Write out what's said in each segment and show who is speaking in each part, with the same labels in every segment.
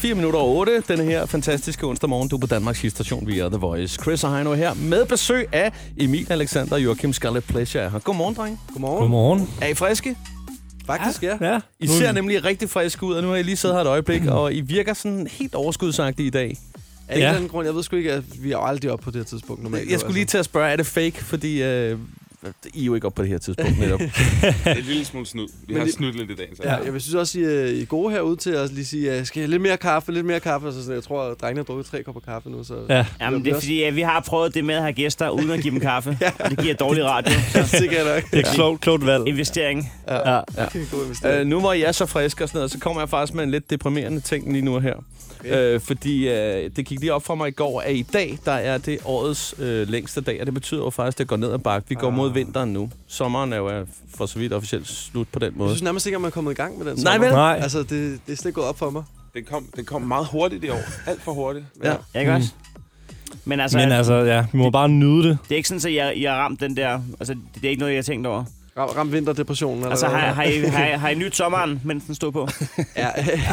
Speaker 1: 4 minutter over 8, den her fantastiske onsdag morgen. Du er på Danmarks station via The Voice. Chris og Heino her med besøg af Emil Alexander og Joachim Scarlett Pleasure er her. Godmorgen, drenge.
Speaker 2: Godmorgen.
Speaker 3: Godmorgen.
Speaker 1: Er I friske?
Speaker 2: Faktisk, ja.
Speaker 3: Ja.
Speaker 1: I ser nemlig rigtig friske ud, og nu har I lige siddet her et øjeblik, og I virker sådan helt overskudsagtige i dag.
Speaker 2: Af en eller
Speaker 3: Ja.
Speaker 2: anden grund, jeg ved sgu ikke, at vi er jo aldrig oppe på det her tidspunkt normalt. altså.
Speaker 1: Jeg skulle lige til at spørge, er det fake? Fordi øh, I er jo ikke oppe på det her tidspunkt netop.
Speaker 4: Det er en lille smule snyd. Vi
Speaker 2: Men
Speaker 4: har
Speaker 2: det-
Speaker 4: snydt lidt i dag. Så.
Speaker 2: Ja. Jeg vil synes også, I er, I er gode herude til at lige sige, øh, skal jeg have lidt mere kaffe, lidt mere kaffe? Altså, sådan, jeg tror, at drengene har drukket tre kopper kaffe nu, så...
Speaker 3: Ja.
Speaker 5: Jamen, det er fordi, at vi har prøvet det med at have gæster, uden at give dem kaffe. ja. Og det giver dårlig radio. Så
Speaker 2: Det kan jeg nok.
Speaker 3: Det er et klogt, klogt valg.
Speaker 5: investering.
Speaker 3: Ja.
Speaker 2: Det er en god investering.
Speaker 1: Øh, nu hvor jeg er så frisk og sådan noget, så kommer jeg faktisk med en lidt deprimerende ting lige nu og her. Okay. Øh, fordi øh, det gik lige op for mig i går, at i dag, der er det årets øh, længste dag, og det betyder jo faktisk, at det går ned ad bakke. Vi går mod vinteren nu. Sommeren er jo øh, for så vidt officielt slut på den
Speaker 2: Jeg
Speaker 1: måde.
Speaker 2: synes nærmest ikke, at man er kommet i gang med den
Speaker 1: Nej,
Speaker 2: sommer.
Speaker 1: vel?
Speaker 3: Nej.
Speaker 2: Altså, det, det er slet ikke gået op for mig.
Speaker 4: Den, kom, den kom meget hurtigt i år. Alt for hurtigt.
Speaker 1: Ja.
Speaker 5: Ja, ikke også? Men altså,
Speaker 3: Mm. Men altså, ja, vi må bare nyde det.
Speaker 5: det er ikke sådan, at jeg, jeg har ramt den der... Altså, det er ikke noget, jeg har tænkt over.
Speaker 2: Ram, ram vinterdepressionen. Eller
Speaker 5: Altså,
Speaker 2: hvad?
Speaker 5: har, har, I, har, I, har I nyt sommeren, mens den stod på?
Speaker 2: Ja.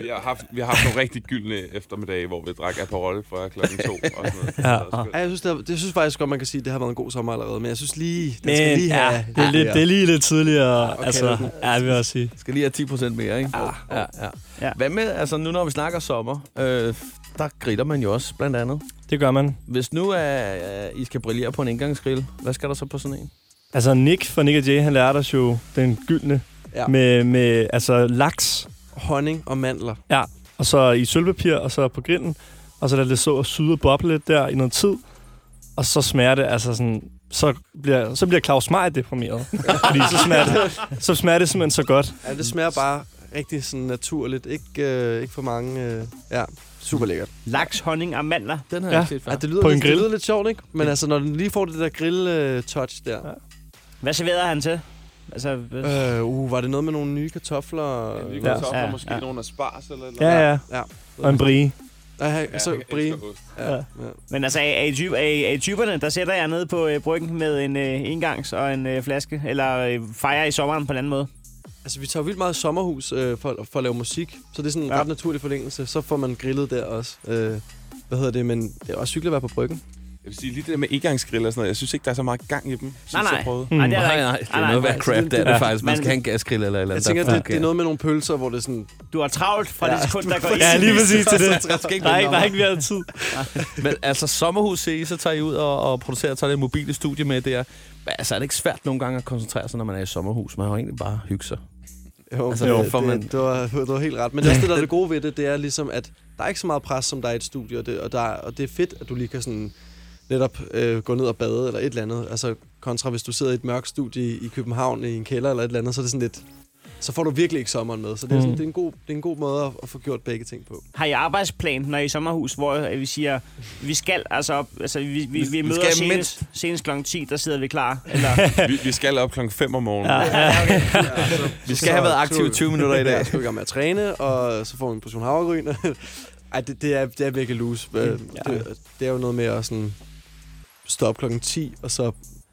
Speaker 4: Vi har haft, vi har haft nogle rigtig gyldne eftermiddage, hvor vi drak Aperol fra klokken to. Og sådan noget.
Speaker 3: Ja.
Speaker 4: Det var skønt.
Speaker 2: ja, jeg synes, det, er, det synes faktisk godt, man kan sige, at det har været en god sommer allerede, men jeg synes lige, den
Speaker 3: Men
Speaker 2: skal lige have...
Speaker 3: ja, det, er lidt, det er lige lidt tidligere. Okay, altså,
Speaker 2: okay.
Speaker 3: ja, jeg vil også sige.
Speaker 1: Skal lige have 10% mere, ikke? Ah, ja, ja.
Speaker 5: Ja.
Speaker 1: Hvad med, altså nu når vi snakker sommer, øh, der griller man jo også, blandt andet.
Speaker 3: Det gør man.
Speaker 1: Hvis nu er, øh, I skal brillere på en indgangsgrill, hvad skal der så på sådan en?
Speaker 3: Altså, Nick fra Nick og Jay, han lærte os jo den gyldne
Speaker 2: Ja.
Speaker 3: ja. med, med altså, laks,
Speaker 2: Honning og mandler.
Speaker 3: og så i sølvpapir, og så på grillen. Og så lade det så og syde og boble lidt der i noget tid. Og så smager det, altså sådan, så bliver, så bliver Claus Meier deprimeret. Fordi så smager, det, så smager det simpelthen så godt.
Speaker 2: Ja, det smager bare rigtig sådan naturligt. Ikke, øh, ikke for mange... Øh, ja, super lækkert.
Speaker 5: Laks, honning og mandler.
Speaker 1: Den har
Speaker 3: Ja.
Speaker 1: jeg ikke set før.
Speaker 2: Ja, det lyder,
Speaker 3: På en
Speaker 2: lidt,
Speaker 3: grill.
Speaker 2: det lyder lidt sjovt, ikke? Men altså, når den lige får det der grill-touch der.
Speaker 5: Hvad serverede han til? Altså, hvad-
Speaker 2: Ja. Øh, uh, var det noget med nogle nye kartofler?
Speaker 4: Ja, vi
Speaker 2: Ja,
Speaker 4: kunne
Speaker 3: Ja.
Speaker 4: ja. så
Speaker 5: Ja,
Speaker 4: ja. måske
Speaker 5: ja.
Speaker 4: ja. nogle af spars eller noget.
Speaker 3: Ja, ja.
Speaker 2: Ja.
Speaker 3: Og en brie.
Speaker 2: ja, så Brie. Ja, ja.
Speaker 5: men altså, er, er, I typ, er, I- er I typerne, der sætter jeg ned på øh, bryggen med en øh, engangs og en øh, flaske? Eller øh, fejrer I sommeren på en anden måde?
Speaker 2: Altså, vi tager jo vildt meget sommerhus øh, for, for at lave musik, så det er sådan en
Speaker 5: Ja.
Speaker 2: ja. ret naturlig forlængelse. Så får man grillet der også. Øh, hvad hedder det? Men det er også hyggeligt at være på bryggen.
Speaker 4: Jeg vil sige, lige det der med egangsgrill og sådan noget, jeg synes ikke, der er så meget gang i dem. Synes,
Speaker 5: Nej, nej.
Speaker 4: Jeg prøvede.
Speaker 3: Hmm.
Speaker 5: Nej, det er der
Speaker 1: Nej,
Speaker 5: ikke.
Speaker 1: nej, det er
Speaker 5: Nej, nej,
Speaker 1: noget værd
Speaker 2: altså,
Speaker 1: crap,
Speaker 2: det-
Speaker 1: det er det
Speaker 3: ja.
Speaker 1: faktisk. Man
Speaker 5: Men-
Speaker 1: skal have en gasgrill eller et eller
Speaker 2: Jeg
Speaker 1: andet.
Speaker 2: tænker,
Speaker 1: der
Speaker 2: det, det er
Speaker 1: fungerer.
Speaker 2: noget med nogle pølser, hvor det er sådan...
Speaker 5: Du har travlt fra ja, det
Speaker 2: Ja,
Speaker 5: sekund, der går i.
Speaker 3: Ja, lige præcis til det.
Speaker 1: Der skal ikke
Speaker 3: Der er
Speaker 1: blive
Speaker 3: ikke, der er ikke mere tid.
Speaker 1: Men altså, sommerhus se, så tager I ud og, og producerer, tager det mobile studie med der. Men Altså, er det ikke svært nogle gange at koncentrere sig, når man er i sommerhus? Man har jo egentlig bare hygge sig.
Speaker 2: Jo,
Speaker 1: Altså,
Speaker 2: altså, det,
Speaker 1: hvorfor
Speaker 2: det,
Speaker 1: man-
Speaker 2: man... det, var, det var helt ret. Men det, er også det, der er det gode ved det, det er ligesom, at der er ikke så meget pres, som der er i et studie, og det, og, der, er- og det er fedt, at du lige kan sådan netop øh, gå ned og bade eller et eller andet. Altså kontra hvis du sidder i et mørkt studie i, i København i en kælder eller et eller andet, så er det sådan lidt... Så får du virkelig ikke sommeren med. Så det er, sådan,
Speaker 3: Mm.
Speaker 2: det er, en, god, det er en god måde at, at få gjort begge ting på.
Speaker 5: Har I arbejdsplan, når I er i sommerhus, hvor øh, vi siger, vi skal altså op, altså vi, vi, vi, vi
Speaker 1: skal
Speaker 5: møder
Speaker 1: mindst-
Speaker 5: senest, senest kl. 10, der sidder vi klar.
Speaker 3: Altså,
Speaker 5: Eller,
Speaker 4: Vi, vi skal op klokken 5 om morgenen.
Speaker 3: Ja,
Speaker 4: Ja.
Speaker 3: ja.
Speaker 1: Vi skal have været aktive i 20 minutter i dag.
Speaker 2: Jeg skal i gang med at træne, og så får vi en portion havregryn. Ej, det, det, er, det er virkelig loose. Ja. Det, det, er jo noget med at sådan stoppe klokken 10, og så,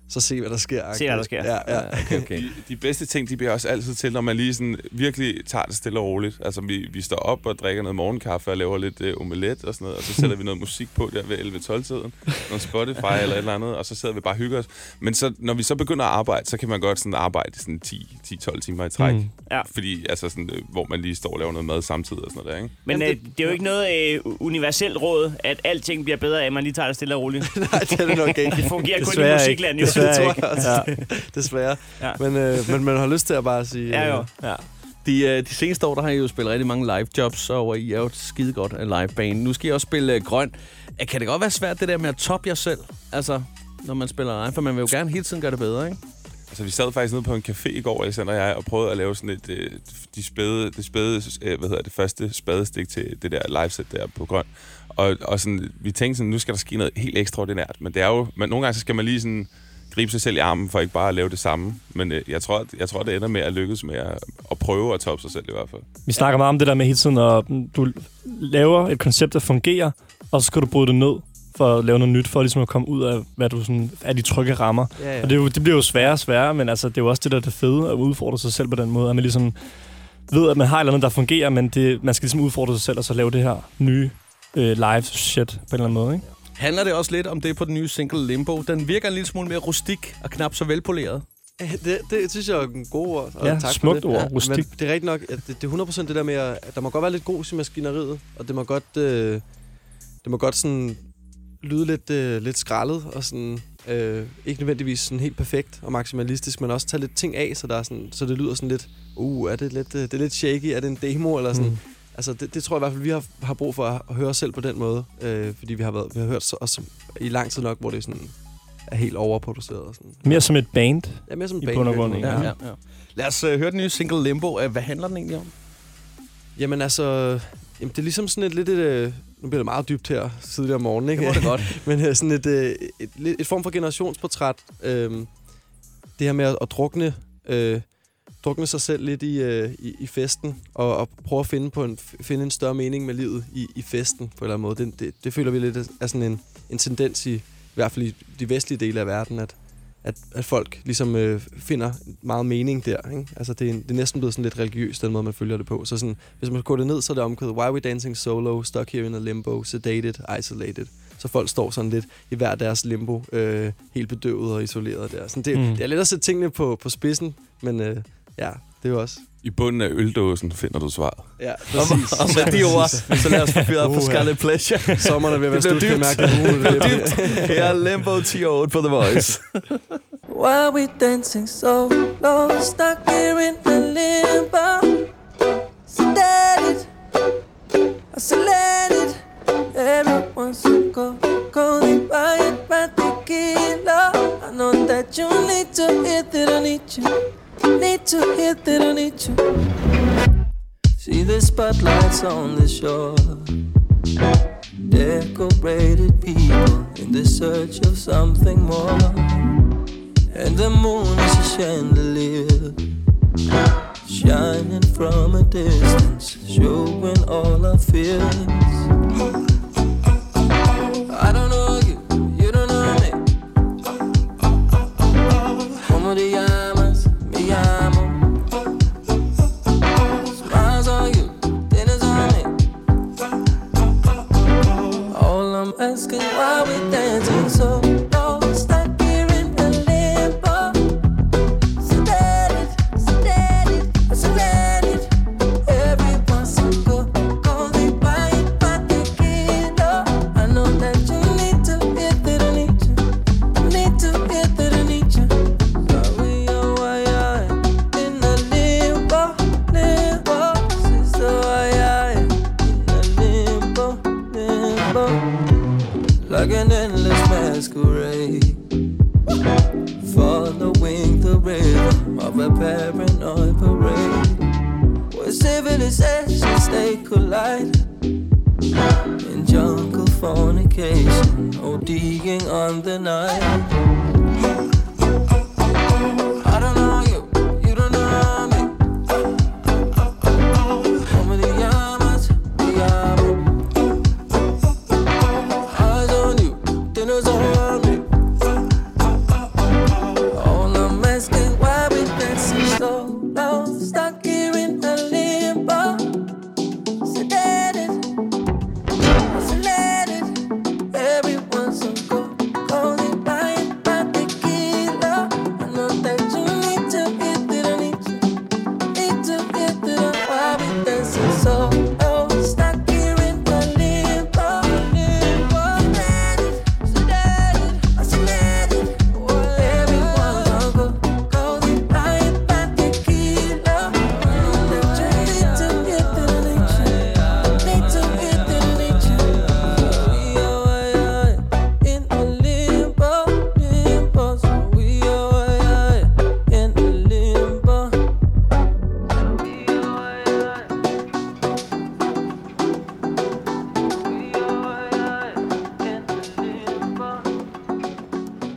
Speaker 2: så se, hvad der sker.
Speaker 5: Se, hvad der sker.
Speaker 2: Ja, ja.
Speaker 1: Okay, okay.
Speaker 4: De, de bedste ting, de bliver også altid til, når man lige sådan virkelig tager det stille og roligt. Altså, vi, vi står op og drikker noget morgenkaffe og laver lidt øh, omelet og sådan noget, og så sætter vi noget musik på der ved 11-12-tiden, noget Spotify eller et eller andet, og så sidder vi bare og hygger os. Men så, når vi så begynder at arbejde, så kan man godt sådan arbejde i sådan 10, 10-12 timer i træk.
Speaker 3: Mm.
Speaker 4: Mm.
Speaker 5: Ja.
Speaker 4: Fordi, altså sådan, øh, hvor man lige står og laver noget mad samtidig og sådan noget der, ikke?
Speaker 5: men øh, det er jo ikke noget øh, universelt råd, at alting bliver bedre af, at man lige tager det stille og roligt.
Speaker 2: Nej, det er det nok ikke.
Speaker 5: Det fungerer kun i
Speaker 3: Desværre ikke.
Speaker 5: musikland, jo.
Speaker 3: Desværre
Speaker 2: Det tror
Speaker 3: ikke.
Speaker 2: jeg også.
Speaker 3: Ja.
Speaker 2: Desværre.
Speaker 5: Ja.
Speaker 2: Ja. Men, øh, men man har lyst til at bare sige...
Speaker 5: Ja, jo.
Speaker 2: øh,
Speaker 3: Ja.
Speaker 1: De, øh, de seneste år, der har I jo spillet rigtig mange live jobs, og I er jo et skide godt live-bane. Nu skal I også spille øh, grøn. Øh, Kan det godt være svært, det der med at toppe jer selv? Altså, når man spiller live, for man vil jo gerne hele tiden gøre det bedre, ikke?
Speaker 4: Altså, vi sad faktisk nede på en café i går, Alexander og jeg, og prøvede at lave sådan et, øh, de spæde, det spæde, øh, hvad hedder det, første spadestik til det der liveset der på Grøn. Og, og sådan, vi tænkte sådan, nu skal der ske noget helt ekstraordinært, men det er jo, men nogle gange så skal man lige sådan gribe sig selv i armen for ikke bare at lave det samme. Men øh, jeg, tror, at, jeg tror, det ender med at lykkes med at, at prøve at toppe sig selv i hvert fald.
Speaker 3: Vi snakker meget om det der med hele tiden, og du laver et koncept, der fungerer, og så skal du bryde det ned for at lave noget nyt, for ligesom at komme ud af, hvad du sådan, af de trygge rammer.
Speaker 2: Ja, ja.
Speaker 3: Og det, er jo, det bliver jo sværere og sværere, men altså, det er jo også det, der er det fede, at udfordre sig selv på den måde, at man ligesom ved, at man har et eller andet, der fungerer, men det, man skal ligesom udfordre sig selv og så lave det her nye øh, live shit på en eller anden måde, ikke?
Speaker 1: Handler det også lidt om det på den nye single Limbo? Den virker en lille smule mere rustik og knap så velpoleret.
Speaker 2: Det, det synes jeg er en god ord. Og
Speaker 3: Ja,
Speaker 2: tak
Speaker 3: smukt
Speaker 2: for
Speaker 3: ord,
Speaker 2: det.
Speaker 3: rustik.
Speaker 2: Men det er rigtigt nok, at det, det er 100% det der med, at der må godt være lidt grus i maskineriet, og det må godt, øh, det må godt sådan lyde lidt, øh, lidt skraldet, og sådan, øh, ikke nødvendigvis sådan helt perfekt og maksimalistisk, men også tage lidt ting af, så, der er sådan, så det lyder sådan lidt, uh, er det lidt, øh, det er lidt shaky, er det en demo, eller sådan. Mm. Altså, det, det, tror jeg i hvert fald, vi har, har brug for at, at høre os selv på den måde, øh, fordi vi har, været, vi har hørt så- os i lang tid nok, hvor det sådan er helt overproduceret. Og sådan.
Speaker 3: Mere som et band.
Speaker 2: Ja, mere som en
Speaker 3: I
Speaker 2: band-
Speaker 3: bund og grund, ikke?
Speaker 2: Ja.
Speaker 3: Ja.
Speaker 1: ja. Lad os øh, høre den nye single Limbo. Øh, Hvad handler den egentlig om?
Speaker 2: Jamen altså, jamen, det er ligesom sådan et lidt... Et, øh, nu bliver det meget dybt her tidligere om morgenen, ikke?
Speaker 1: Det godt.
Speaker 2: Men øh, sådan et, øh, et, lidt- et form for generationsportræt. Øh, det her med at, at drukne, øh, drukne sig selv lidt i, øh, i, i festen, og, og prøve at finde, på en, finde en større mening med livet i, i festen, på en eller anden måde. Det, det, det føler vi lidt er sådan en, en tendens i, i hvert fald i de vestlige dele af verden, at, at, at folk ligesom øh, finder meget mening der. Ikke? Altså det er, en, det er næsten blevet sådan lidt religiøst, den måde man følger det på. Så sådan, hvis man går det ned, så er det omkødet, why are we dancing solo, stuck here in a limbo, sedated, isolated. Så folk står sådan lidt i hver deres limbo, øh, helt bedøvet og isoleret der. Sådan det,
Speaker 3: Mm.
Speaker 2: mm. det er lidt at sætte tingene på, på spidsen, men øh, ja, det er jo også...
Speaker 4: I bunden af øldåsen finder du svaret.
Speaker 2: Ja,
Speaker 1: Og,
Speaker 2: præcis.
Speaker 1: og med de ord, så lad os få fyret op på
Speaker 2: Uha.
Speaker 1: Scarlet Pleasure.
Speaker 2: Sommeren er ved at være
Speaker 1: Det
Speaker 2: slut,
Speaker 1: blev
Speaker 2: kan jeg mærke. Uh, det er dybt.
Speaker 1: Her er Limbo 10 og 8 på The Voice.
Speaker 6: Why we dancing so low, stuck here in the limbo? Sedated, isolated. Everyone's so cold, cold and quiet, but they kill love. I know that you need to hear that I need you, need to hear that I need you. See the spotlights on the shore. Decorated people in the search of something more. And the moon is a chandelier Shining from a distance Showing all our fears I don't know you, you don't know me Como te llamas? Me llamo Smiles on you, dinners on me All I'm asking why we dancing so low Stuck here in a limbo Like an endless masquerade following the rhythm of a paranoid parade. Where civilizations they collide in jungle fornication, ODing on the night. I don't know you, you don't know me. Como te llamas? Te llamo. Eyes on you, dinners on me. All I'm asking why we dancing so low, stuck here in a limbo. Sedated, isolated, everyone's so cold, cold and quiet, but Oh,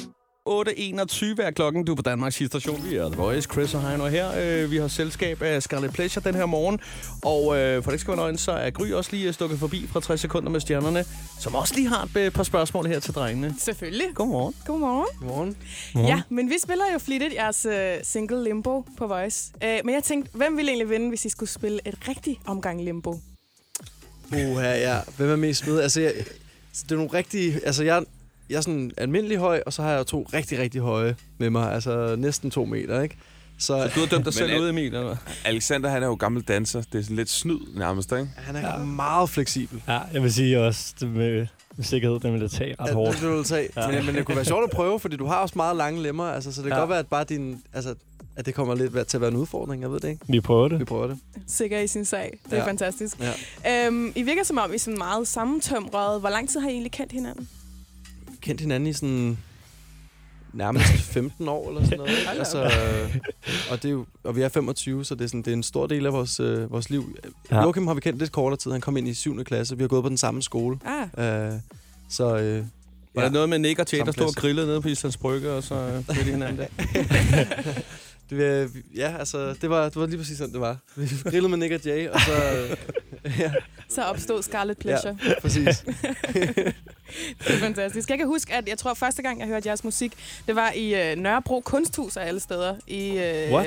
Speaker 1: 8.21 er klokken. Du er på Danmarks station. Vi er The Voice, Chris og Heino her. Øh, vi har selskab af Scarlet Pleasure den her morgen. Og øh, for det ikke skal være løgn, så er Gry også lige øh, stukket forbi fra 60 sekunder med stjernerne, som også lige har et øh, par spørgsmål her til drengene.
Speaker 7: Selvfølgelig.
Speaker 1: Godmorgen.
Speaker 7: Godmorgen.
Speaker 2: Morgen.
Speaker 7: Ja, men vi spiller jo flittigt jeres øh, single Limbo på Voice. Øh, men jeg tænkte, hvem ville egentlig vinde, hvis I skulle spille et rigtigt omgang Limbo?
Speaker 2: Uha, ja. Hvem er mest med? Altså, jeg, så det er nogle rigtige... Altså, jeg, jeg er sådan almindelig høj, og så har jeg to rigtig, rigtig høje med mig. Altså, næsten to meter, ikke? Så
Speaker 1: Du har dømt dig
Speaker 4: Men er-
Speaker 1: selv ud, Emil, eller hvad?
Speaker 4: Alexander, han er jo gammel danser. Det er sådan lidt snyd nærmest, ikke?
Speaker 2: han er ja. meget fleksibel.
Speaker 3: Ja, jeg vil sige også det med, med sikkerhed, den vil jeg tage ret
Speaker 2: Ja,
Speaker 3: hårdt.
Speaker 2: Det, vil du tage. Ja. Men, men det kunne være sjovt at prøve, fordi du har også meget lange lemmer. Altså, så det kan
Speaker 3: Ja.
Speaker 2: godt være, at bare din... Altså, at det kommer lidt til at være en udfordring, jeg ved det ikke.
Speaker 3: Vi prøver
Speaker 2: Vi
Speaker 3: det.
Speaker 2: prøver det.
Speaker 7: Sikker i sin sag. Det er
Speaker 2: Ja.
Speaker 7: ja. fantastisk.
Speaker 2: Ja.
Speaker 7: Øhm, I virker som om, I er sådan meget sammentømrede. Hvor lang tid har I egentlig kendt hinanden?
Speaker 2: Kendt hinanden i sådan nærmest 15 år eller sådan noget. Ikke? Altså, øh, og, det er jo, og vi er 25, så det er, sådan, det er en stor del af vores, øh, vores liv. Ja.
Speaker 3: Ja.
Speaker 2: Joachim har vi kendt lidt kortere tid. Han kom ind i 7. klasse. Vi har gået på den samme skole.
Speaker 7: Ah,
Speaker 2: Øh, så øh,
Speaker 1: Var der noget med Nick og Tjæt, der
Speaker 2: Samme
Speaker 1: stod og
Speaker 2: plads.
Speaker 1: grillede nede på Islands Brygge, og så øh, blev de hinanden der?
Speaker 2: det, øh, ja, altså, det var, det var lige præcis sådan, det var. Vi grillede med Nick og Jay, og så... Øh, ja,
Speaker 7: så opstod Scarlet Pleasure. Ja.
Speaker 2: præcis.
Speaker 7: Det er fantastisk. Jeg kan huske, at jeg tror, at første gang, jeg hørte jeres musik, det var i øh, Nørrebro Kunsthus af alle steder. I øh,
Speaker 3: What?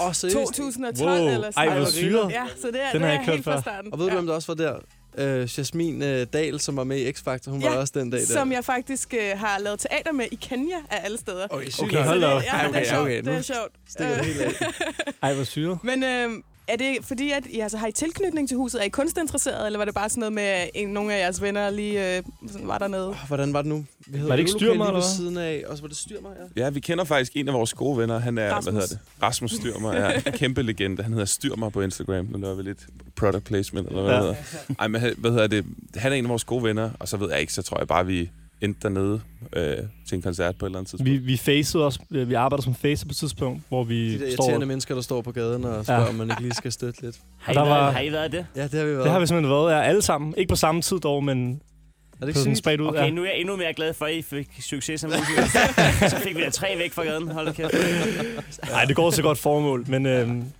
Speaker 2: Og seriøst.
Speaker 7: 2012
Speaker 3: Wow.
Speaker 7: eller
Speaker 3: Ej,
Speaker 7: sådan
Speaker 3: hvor
Speaker 7: noget.
Speaker 3: syret.
Speaker 7: Ja, så det er,
Speaker 3: Den
Speaker 7: det
Speaker 3: har
Speaker 7: er
Speaker 3: jeg ikke hørt
Speaker 7: helt fra
Speaker 3: før.
Speaker 7: starten.
Speaker 2: Og ved du,
Speaker 7: ja.
Speaker 2: hvem der også var der? Øh, Jasmin øh, Dahl, som var med i X-Factor. Hun
Speaker 7: Ja,
Speaker 2: var også den dag der.
Speaker 7: Som jeg faktisk øh, har lavet teater med i Kenya af alle steder.
Speaker 2: Okay, sygt.
Speaker 3: Okay,
Speaker 2: Okay,
Speaker 3: hold da op.
Speaker 7: det, ja,
Speaker 2: okay,
Speaker 7: det er sjovt.
Speaker 2: okay, nu
Speaker 7: det er sjovt.
Speaker 2: stikker det
Speaker 7: Øh,
Speaker 2: helt af.
Speaker 3: Ej, hvor syret.
Speaker 7: men øh, er det fordi, at I, altså, har I tilknytning til huset? Er I kunstinteresseret, eller var det bare sådan noget med, at en, nogle af jeres venner lige øh, sådan var dernede?
Speaker 2: Åh, Hvordan var det nu? Vi havde
Speaker 3: Var det ikke
Speaker 2: øvelokale
Speaker 3: Styrmer,
Speaker 2: lige ved
Speaker 3: eller hvad?
Speaker 2: siden af, og så var det styrmer, ja.
Speaker 4: Ja, vi kender faktisk en af vores gode venner. Han er,
Speaker 7: Rasmus.
Speaker 4: hvad hedder det? Rasmus Styrmer. Ja, en kæmpe legende. Han hedder Styrmer på Instagram. Nu laver vi lidt product placement, eller hvad
Speaker 3: Ja.
Speaker 4: ja. hedder. Ej, men han- hvad hedder det? Han er en af vores gode venner, og så ved jeg ikke, så tror jeg bare, vi endte dernede øh, til en koncert på et eller andet tidspunkt.
Speaker 3: Vi, vi facede også, øh, vi arbejder som facer på et tidspunkt, hvor vi
Speaker 2: De der
Speaker 3: står...
Speaker 2: irriterende mennesker, der står på gaden og spørger, ja. om man ikke lige skal støtte lidt.
Speaker 5: Har I,
Speaker 3: Der
Speaker 5: været,
Speaker 3: var-
Speaker 5: har I været det?
Speaker 2: Ja, det har vi været.
Speaker 3: Det har vi simpelthen været, ja, alle sammen. Ikke på samme tid dog, men
Speaker 2: Er det
Speaker 3: på
Speaker 2: ikke
Speaker 3: sådan
Speaker 2: sygt?
Speaker 3: spredt ud.
Speaker 5: Okay,
Speaker 3: ja.
Speaker 5: nu er jeg endnu mere glad for, at I fik succes som musikere. Så fik vi da tre væk fra gaden. Hold da kæft.
Speaker 3: Nej, det går til godt formål, men øh,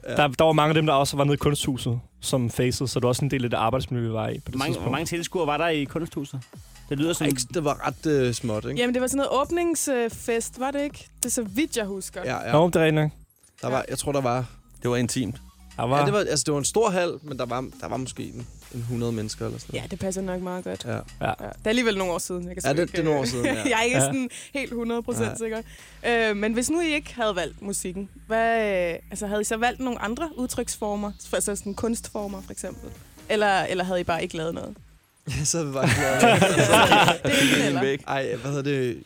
Speaker 2: Ja.
Speaker 3: der, der var mange af dem, der også var nede i kunsthuset, som facede, så det var også en del af det arbejdsmiljø, vi var i på det
Speaker 5: Hvor mange, hvor
Speaker 3: tidspunkt.
Speaker 5: mange tilskuere var der i kunsthuset? Det lyder som...
Speaker 2: Ej, ikke- Det var ret øh, småt, ikke?
Speaker 7: Jamen, det var sådan noget åbningsfest, var det ikke? Det er så vidt, jeg husker.
Speaker 2: Ja, ja.
Speaker 3: Nå, det er rigtigt nok.
Speaker 2: Der var, jeg tror, der var...
Speaker 1: Det var intimt.
Speaker 3: Der var,
Speaker 2: Ja, det var, altså, det var en stor hal, men der var, der var måske en, en 100 mennesker eller sådan
Speaker 7: Ja, det passer nok meget godt.
Speaker 2: noget. Ja.
Speaker 7: Ja, det er alligevel nogle år siden. Jeg kan
Speaker 2: Ja,
Speaker 7: sgu
Speaker 2: det- det er nogle år siden, ja.
Speaker 7: jeg er ikke
Speaker 3: Ja.
Speaker 7: sådan helt 100%
Speaker 2: Nej.
Speaker 7: sikker. Øh, men hvis nu I ikke havde valgt musikken, hvad, øh, altså, havde I så valgt nogle andre udtryksformer? Altså sådan kunstformer, for eksempel? Eller, eller havde I bare ikke lavet noget?
Speaker 2: Ja. så er vi bare glade.
Speaker 7: Det er ikke heller.
Speaker 2: Ej, hvad hedder det?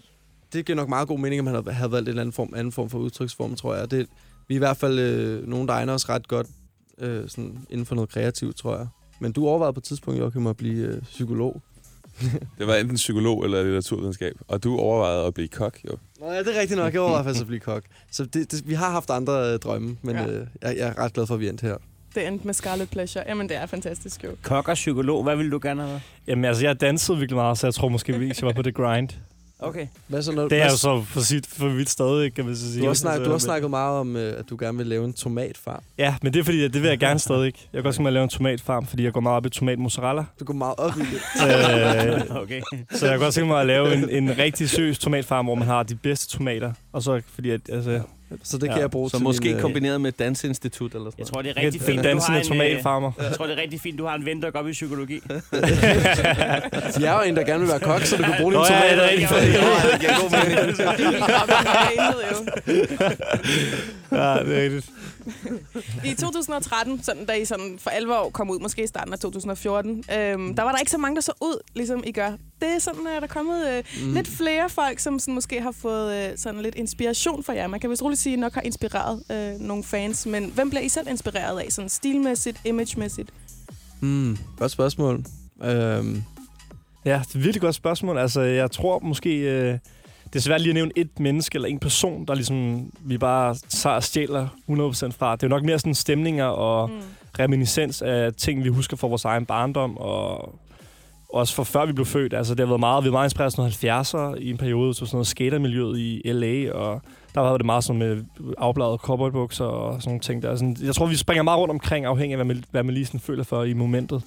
Speaker 2: Det giver nok meget god mening, om han havde- havde valgt en eller anden, form, anden form for udtryksform, tror jeg. Det, vi er i hvert fald øh, nogen, der egner os ret godt øh, sådan inden for noget kreativt, tror jeg. Men du overvejede på et tidspunkt, Joachim, at blive øh, psykolog.
Speaker 4: Det var enten psykolog eller litteraturvidenskab. Og du overvejede at blive kok, jo.
Speaker 2: Nå ja, det er rigtigt nok. Jeg overvejede faktisk at blive kok. Så det, det, vi har haft andre øh, drømme, men
Speaker 7: Ja.
Speaker 2: ja. øh, jeg, jeg er ret glad for, at vi endte her.
Speaker 7: Det endte med Scarlet Pleasure. Jamen, det er fantastisk jo.
Speaker 5: Kok og psykolog, hvad ville du gerne have været?
Speaker 3: Jamen altså, jeg dansede virkelig meget, så jeg tror måske, hvis jeg var på det grind.
Speaker 5: Okay.
Speaker 2: Hvad så, når,
Speaker 3: Det er
Speaker 2: hvad-
Speaker 3: jo så for, sit, for vidt stadig, kan man så sige.
Speaker 2: Du har, snak,
Speaker 3: Altså,
Speaker 2: du har
Speaker 3: men-
Speaker 2: snakket meget om, øh, at du gerne vil lave en tomatfarm.
Speaker 3: Ja, men det er fordi, at det vil jeg gerne stadig. Jeg kan godt tænke mig at lave en tomatfarm, fordi jeg går meget op i tomatmozzarella.
Speaker 2: Du går meget op i det.
Speaker 3: øh,
Speaker 5: okay.
Speaker 3: så jeg kan godt tænke mig at lave en, en rigtig seriøs tomatfarm, hvor man har de bedste tomater. Og så fordi, at, altså, jeg
Speaker 2: Så det kan
Speaker 3: Ja,
Speaker 2: jeg bruge
Speaker 1: Så
Speaker 2: til
Speaker 1: måske
Speaker 2: min, øh,
Speaker 1: kombineret med et dansinstitut eller sådan
Speaker 5: Jeg tror, det er
Speaker 3: kan
Speaker 5: rigtig fint.
Speaker 3: den
Speaker 5: du har
Speaker 3: dansende
Speaker 5: en, øh,
Speaker 3: tomatfarmer.
Speaker 5: Jeg tror, det er rigtig fint, du har en ven, der går op i psykologi.
Speaker 2: De Altså, er jo en, der gerne vil være kok, så du kan bruge
Speaker 3: Nå
Speaker 2: dine
Speaker 3: ja, det
Speaker 2: tomater.
Speaker 3: er rigtigt.
Speaker 2: det giver god mening.
Speaker 3: Ja, det er rigtigt.
Speaker 7: I 2013, sådan, da I sådan for alvor kom ud, måske i starten af 2014,
Speaker 2: Mm.
Speaker 7: øhm, der var der ikke så mange, der så ud, ligesom I gør. Det er sådan, at der er kommet øh, mm. lidt flere folk, som sådan, måske har fået øh, sådan lidt inspiration fra jer. Man kan vist roligt sige, at I nok har inspireret øh, nogle fans, men hvem bliver I selv inspireret af, sådan stilmæssigt, imagemæssigt?
Speaker 2: Mm, godt spørgsmål. Øhm,
Speaker 3: Ja, det er et virkelig godt spørgsmål. Altså, jeg tror måske... Øh, det er svært lige at nævne et menneske eller en person, der ligesom, vi bare tager og stjæler 100% fra. Det er jo nok mere sådan stemninger og
Speaker 7: Mm.
Speaker 3: reminiscens af ting, vi husker fra vores egen barndom og også fra før vi blev født. Altså, det har været meget, vi har meget inspireret af sådan noget 70'er i en periode, så sådan noget skatermiljøet i LA, og der var det meget sådan med afbladede cowboybukser og sådan nogle ting. Der. Sådan, jeg tror, vi springer meget rundt omkring, afhængig af, hvad man, hvad man lige sådan føler for i momentet.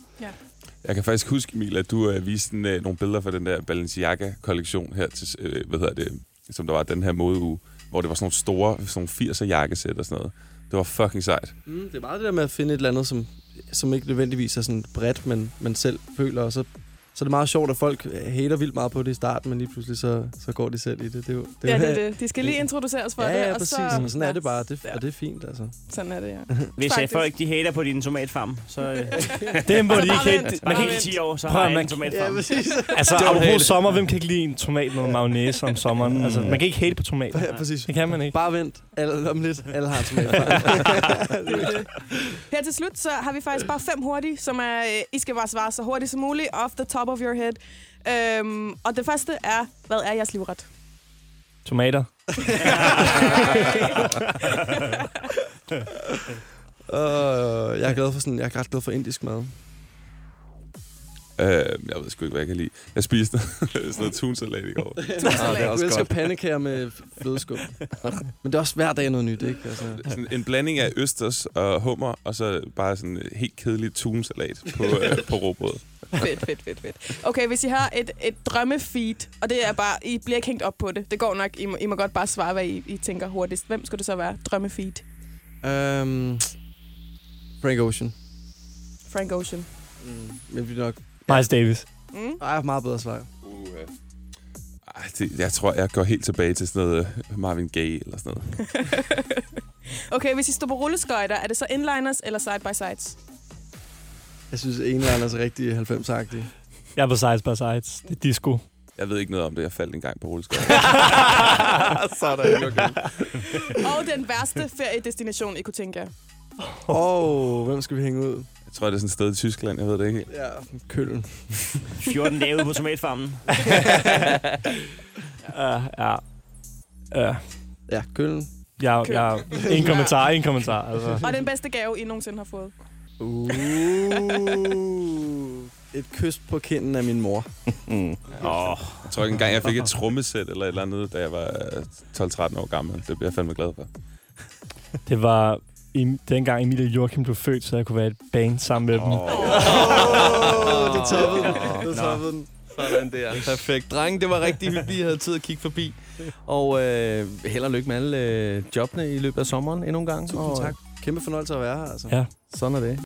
Speaker 4: Jeg kan faktisk huske, Emil, at du øh, viste en, øh, nogle billeder fra den der Balenciaga-kollektion her til, øh, hvad hedder det, som der var den her modeuge, hvor det var sådan nogle store, sådan nogle 80'er jakkesæt og sådan noget. Det var fucking sejt.
Speaker 2: Mm, det er meget det der med at finde et eller andet, som, som ikke nødvendigvis er sådan bredt, men man selv føler, og så, så er det meget sjovt, at folk hater vildt meget på det i starten, men lige pludselig så, så går de selv i det. Det, er jo- det, er
Speaker 7: Ja,
Speaker 2: jo-
Speaker 7: det er det. De skal lige introduceres for
Speaker 2: Ja,
Speaker 7: det.
Speaker 2: ja,
Speaker 7: og
Speaker 2: præcis.
Speaker 7: Så,
Speaker 2: Så, sådan er det bare, det,
Speaker 7: Ja.
Speaker 2: og det er fint, altså.
Speaker 7: Sådan er det, ja.
Speaker 5: Hvis øh,
Speaker 7: Faktisk.
Speaker 5: folk de hater på din tomatfarm, så øh,
Speaker 3: Det må de
Speaker 7: bare
Speaker 3: ikke
Speaker 7: vent.
Speaker 3: helt...
Speaker 5: man
Speaker 7: Bare
Speaker 5: kan
Speaker 7: vent.
Speaker 5: ikke 10 år, så
Speaker 3: Prøv
Speaker 5: har
Speaker 3: at
Speaker 5: jeg en
Speaker 3: man-
Speaker 5: tomatfarm.
Speaker 3: Altså,
Speaker 1: Don't hate it.
Speaker 3: apropos sommer, hvem kan ikke lide en tomat med mayonnaise om sommeren? Mm. Altså, man kan ikke hate på tomater.
Speaker 2: Ja, præcis.
Speaker 3: Det kan man ikke.
Speaker 2: Bare vent. Alle, om lidt. Alle har en tomatfarm.
Speaker 7: Her til slut, så har vi faktisk bare fem hurtige, som er, øh, I skal bare svare så hurtigt som muligt, off the top of your head. Øhm, og det første er, hvad er jeres livret?
Speaker 3: Tomater.
Speaker 2: uh, jeg er glad for sådan, jeg er ret glad for indisk mad.
Speaker 4: Øh, jeg ved sgu ikke, hvad jeg kan lide. Jeg spiste sådan noget tunsalat i går.
Speaker 2: Ah,
Speaker 7: det
Speaker 2: det
Speaker 7: er
Speaker 2: er
Speaker 4: også
Speaker 2: jeg elsker
Speaker 4: godt.
Speaker 2: pandekager med flødeskum. Men det er også hver dag noget nyt, ikke? Altså,
Speaker 4: Sådan en blanding af østers og hummer, og så bare sådan en helt kedelig tunsalat på, øh, på råbrød.
Speaker 7: Fedt, fedt, fedt, fedt. Okay, hvis I har et, et drømmefeed, og det er bare, I bliver ikke hængt op på det. Det går nok, I må, I må godt bare svare, hvad I, I tænker hurtigst. Hvem skulle det så være? Drømmefeed.
Speaker 2: um, Frank Ocean.
Speaker 7: Frank Ocean.
Speaker 2: Mm. Jeg bliver nok...
Speaker 3: Miles Davis.
Speaker 7: Mm?
Speaker 2: Ej, meget bedre svar.
Speaker 4: Uh, det, jeg tror, jeg går helt tilbage til sådan noget øh, Marvin Gaye eller sådan noget.
Speaker 7: Okay, hvis I står på rulleskøjter, er det så inliners eller side-by-sides?
Speaker 2: Jeg synes, en eller anden er så rigtig 90-agtig.
Speaker 3: Jeg er på sides by sides. Det er disco.
Speaker 4: Jeg ved ikke noget om det. Jeg faldt engang på rulleskøj.
Speaker 2: Sådan.
Speaker 7: Og den værste feriedestination, I kunne tænke jer.
Speaker 2: Åh, oh, hvem skal vi hænge ud?
Speaker 4: Jeg tror, det er sådan et sted i Tyskland. Jeg ved det ikke helt.
Speaker 2: Ja, Køln.
Speaker 5: 14 dage ude på tomatfarmen.
Speaker 3: Uh, ja. Uh,
Speaker 2: Ja, Køln.
Speaker 3: jeg, jeg, en kommentar, en kommentar. Altså.
Speaker 7: Og den bedste gave, I nogensinde har fået.
Speaker 2: Uh. Et kys på kinden af min mor.
Speaker 1: Mm.
Speaker 5: Åh,
Speaker 4: Jeg tror ikke engang, jeg fik et trommesæt eller et eller andet, da jeg var øh, 12-13 år gammel. Det bliver jeg fandme glad for.
Speaker 3: Det var i, dengang Emilie og Joachim blev født, så jeg kunne være i et band sammen med dem.
Speaker 2: Åh, oh, du toppede den. Du toppede den.
Speaker 1: Sådan der. Perfekt. Drenge, det var rigtig hyggeligt, I havde tid at kigge forbi. Og øh, held og lykke med alle øh, jobbene i løbet af sommeren endnu en gang.
Speaker 2: Tusind
Speaker 1: og,
Speaker 2: tak. Kæmpe fornøjelse at være her, altså.
Speaker 3: Ja.
Speaker 1: Sådan er det.